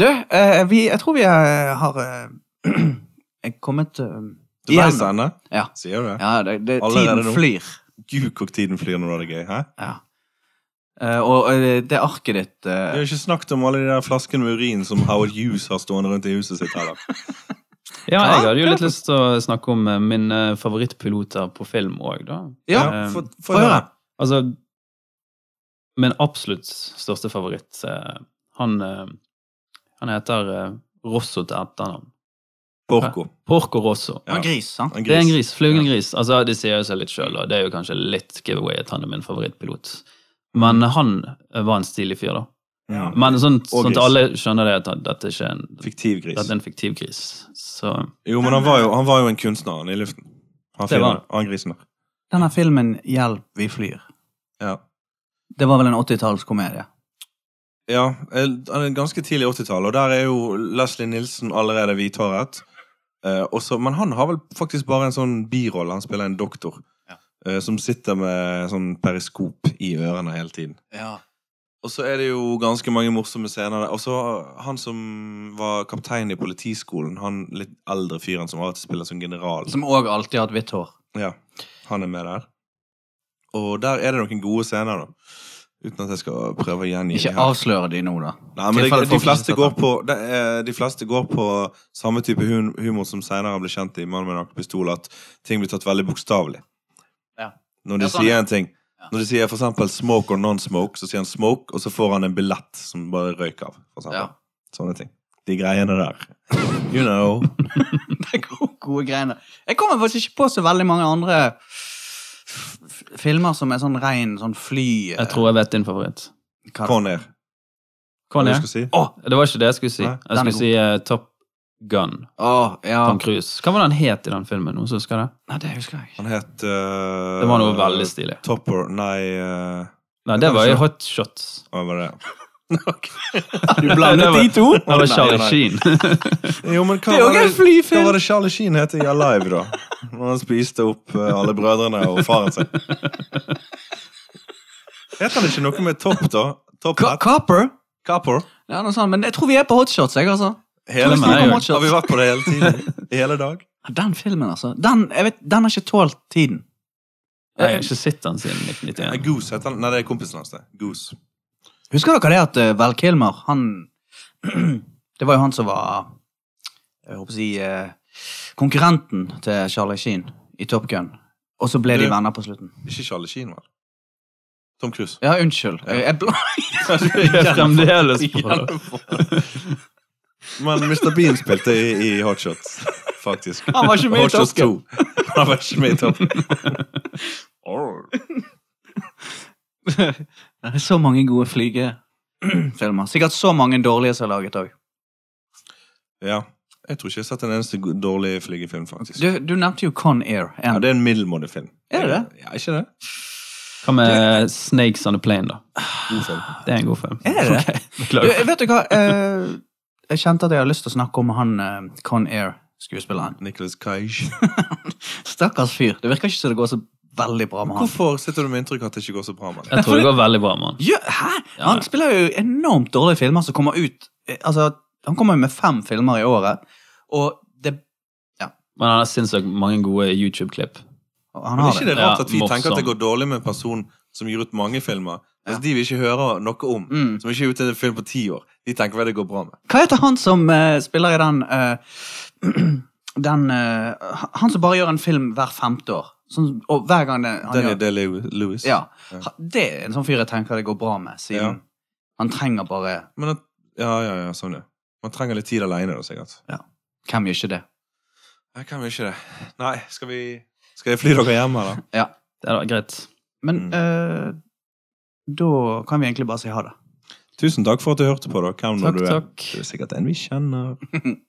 Du, eh, vi, jeg tror vi eh, har eh, kommet eh, Du igjen. vet det, Ja. Sier du det? Ja, det, det, Allerede tiden nå. flyr. Gud, hvor tiden flyr når du har det gøy. Hæ? Ja. Eh, og eh, det arket ditt Vi eh, har ikke snakket om alle de der flaskene med urin som Howard Hughes har stående rundt i huset sitt heller. Ja, jeg hadde jo Ja, litt lyst til å snakke om eh, mine favorittpiloter på film òg, da. Ja, Eh, få- få få høre. høre. Altså Min absolutt største favoritt, eh, han eh, Han heter eh, Rosso til etternavn. Porco. Porco Rosso. Det var en gris, sant? En Det er en gris. gris. Flygende gris. Altså, det sier jo seg litt sjøl, og det er jo kanskje litt giveaway at han er min favorittpilot. Mm. Men han eh, var en stilig fyr, da. Ja. Men sånn, Og sånn at gris. alle skjønner det, at han- dette er ikke en, Fiktiv gris. dette er en fiktiv gris. Så Jo, men han var jo, han var jo en kunstner, han i luften. Han, Det filmen, var han. han grisen der. Denne filmen 'Hjelp, vi flyr' Ja. Det var vel en 80-tallskomedie? ja, eh, han er ganske tidlig 80-tall, og der er jo Leslie Nilsen allerede hvithåret. Eh, også, men han har vel faktisk bare en sånn birolle. Han spiller en doktor Ja. eh, som sitter med sånn periskop i ørene hele tiden. Ja. Og så er det jo ganske mange morsomme scener der. Og så han som var kaptein i politiskolen, han litt eldre fyren som alltid spiller som general. Som òg alltid har hatt hvitt hår. Ja, han er med der. Og der er det noen gode scener, da. Uten at jeg skal prøve å gjengi Ikke de her. avsløre de nå, da. Nei, men det, Tilfelle de, folk fleste ikke går setter. på, det er- de fleste går på samme type hun- humor som senere ble kjent i 'Mannen med en pistol', at ting blir tatt veldig bokstavelig. Ja. Når de Ja, sånn. sier en ting. Ja. Når de sier for eksempel 'smoke' or 'non-smoke', så sier han 'smoke', og så får han en billett som bare røyk av. For eksempel. Ja. Sånne ting. De greiene der. You know. Det er gode, gode greiene. Jeg kommer faktisk ikke på så veldig mange andre f- f- filmer som er sånn rein sånn fly jeg tror jeg vet din favoritt. Hva- Conair. Hva Hva er skal det? du si? Det var ikke det jeg skulle si. Nei, Jeg den er skulle si eh, Top Gun. Åh, eh, ja. Ah. Tom Cruise. Hva var det han het i den filmen? Noen som husker det? Nei, det husker jeg ikke. Han het eh, Det var noe veldig stilig. Topper Nei eh, Nei, det var Kanskje. jo Hot Shots. Hva var det? Du Det var- to? Det var nei, Charlie nei. Sheen. Jo, men hva Det er var jo en det, hva flyfilm! var det Charlie Sheen het i Alive, da? Når han spiste opp eh, alle brødrene og faren sin. Het han ikke noe med Topp, da? Topp Ka- hat? Copper? Kapper? Ja, noe sånt. Men jeg tror vi er på hotshots, jeg, altså. Hele Tusen tiden. takk. Har vi vært på det hele tiden? I hele dag? Ja, Den filmen, altså. Den, jeg vet, den har ikke tålt tiden. Nei, jeg har ikke sett han siden 1991. Goose heter han. Nei, det er kompisen hans, det. Goose. Husker dere det at eh, Val Kilmer, han Det var jo han som var Jeg håper å si eh, konkurrenten til Charlie Sheen i Top Gun. Og så ble de Du- venner på slutten. Ikke Charlie Sheen, vel? Tom Cruise. Ja, unnskyld. Jeg, jeg bla- Jeg er fremdeles på Men Mr. Bean spilte i, i Hot Shots, faktisk. Han var ikke med i Hot Shots Top Gun. 2. Han var ikke med i Top Gun. Det er så mange gode flygefilmer. Sikkert så mange dårlige som er laget òg. Ja. Jeg tror ikke jeg har sett en eneste go- dårlig flygefilm, faktisk. Du, du nevnte jo Con Air. Ja, En. det er en middelmådig film. Er det det? Ja, ikke det? Hva med Snakes on a Plane, da? God film. Det er en god film. Er det? Ok, Du, beklager. vet du hva? Eh, jeg kjente at jeg har lyst til å snakke om han eh, Con Air-skuespilleren. Nicholas Cage. Stakkars fyr. Det virker ikke som det går så veldig bra med han. Hvorfor sitter du med inntrykk av at det ikke går så bra med det? Jeg tror det går veldig bra med han. Gjø- hæ? Ja. Han spiller jo enormt dårlige filmer som kommer ut eh, Altså, han kommer jo med fem filmer i året, og det Men han har sinnssykt mange gode YouTube-klipp. Han Men har er ikke det Ja, rart at vi tenker morsom. at det går dårlig med en person som gir ut mange filmer, mens Ja. de vi ikke hører noe om, Mm. som ikke har gitt ut en film på ti år, de tenker hva det går bra med? Hva heter han som eh, spiller i den eh, Den eh, Han som bare gjør en film hver femte år. Sånn, og hver gang det, han Daniel gjør Day-Lewis. ja. Ja. Ha- Det er en sånn fyr jeg tenker det går bra med, siden Ja. han trenger bare Men at, ja, ja, ja, sånn ja. Man trenger litt tid alene, da, sikkert. Hvem gjør ikke det? Jeg kan jo ikke det. Nei, skal vi Skal jeg fly dere hjem, eller? Det er da greit. Men Mm. eh, da kan vi egentlig bare si ha det. Tusen takk for at du hørte på, da. Hvem når Takk, du er. takk. Du er sikkert en vi kjenner.